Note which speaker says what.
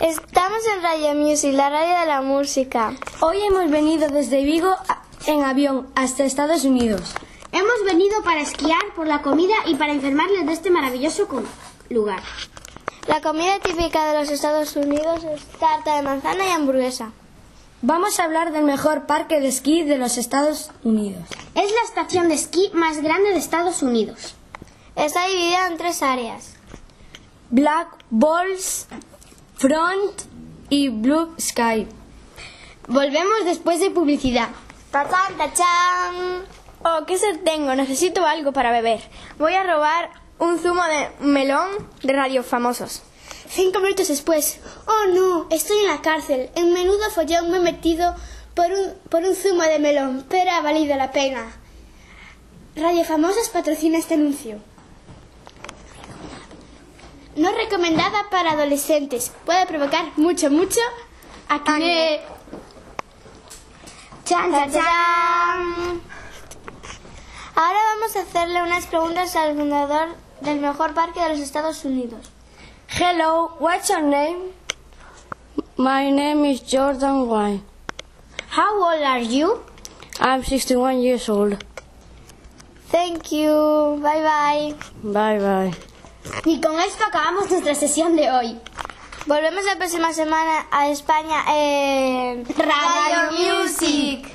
Speaker 1: Estamos en Radio Music, la radio de la música.
Speaker 2: Hoy hemos venido desde Vigo a- en avión hasta Estados Unidos.
Speaker 3: Hemos venido para esquiar, por la comida y para enfermarles de este maravilloso cu- lugar.
Speaker 1: La comida típica de los Estados Unidos es tarta de manzana y hamburguesa.
Speaker 2: Vamos a hablar del mejor parque de esquí de los Estados Unidos.
Speaker 3: Es la estación de esquí más grande de Estados Unidos.
Speaker 1: Está dividida en tres áreas.
Speaker 2: Black Balls, Front y Blue Sky.
Speaker 3: Volvemos después de publicidad.
Speaker 1: ¡Tachán, tachán!
Speaker 4: Oh, qué sed tengo, necesito algo para beber. Voy a robar un zumo de melón de Radio Famosos.
Speaker 1: Cinco minutos después. ¡Oh, no! Estoy en la cárcel. En menudo follón me he metido por un, por un zumo de melón, pero ha valido la pena. Radio Famosas patrocina este anuncio. No recomendada para adolescentes. Puede provocar mucho, mucho acné. ¡Chan, chan, chan! Ahora vamos a hacerle unas preguntas al fundador del mejor parque de los Estados Unidos.
Speaker 2: Hello, what's your name? My name is Jordan White.
Speaker 3: How old are you?
Speaker 2: I'm 61 years old.
Speaker 1: Thank you. Bye bye.
Speaker 2: Bye bye.
Speaker 3: Y con esto acabamos nuestra sesión de hoy.
Speaker 1: Volvemos la próxima semana a España en
Speaker 3: Radio Music.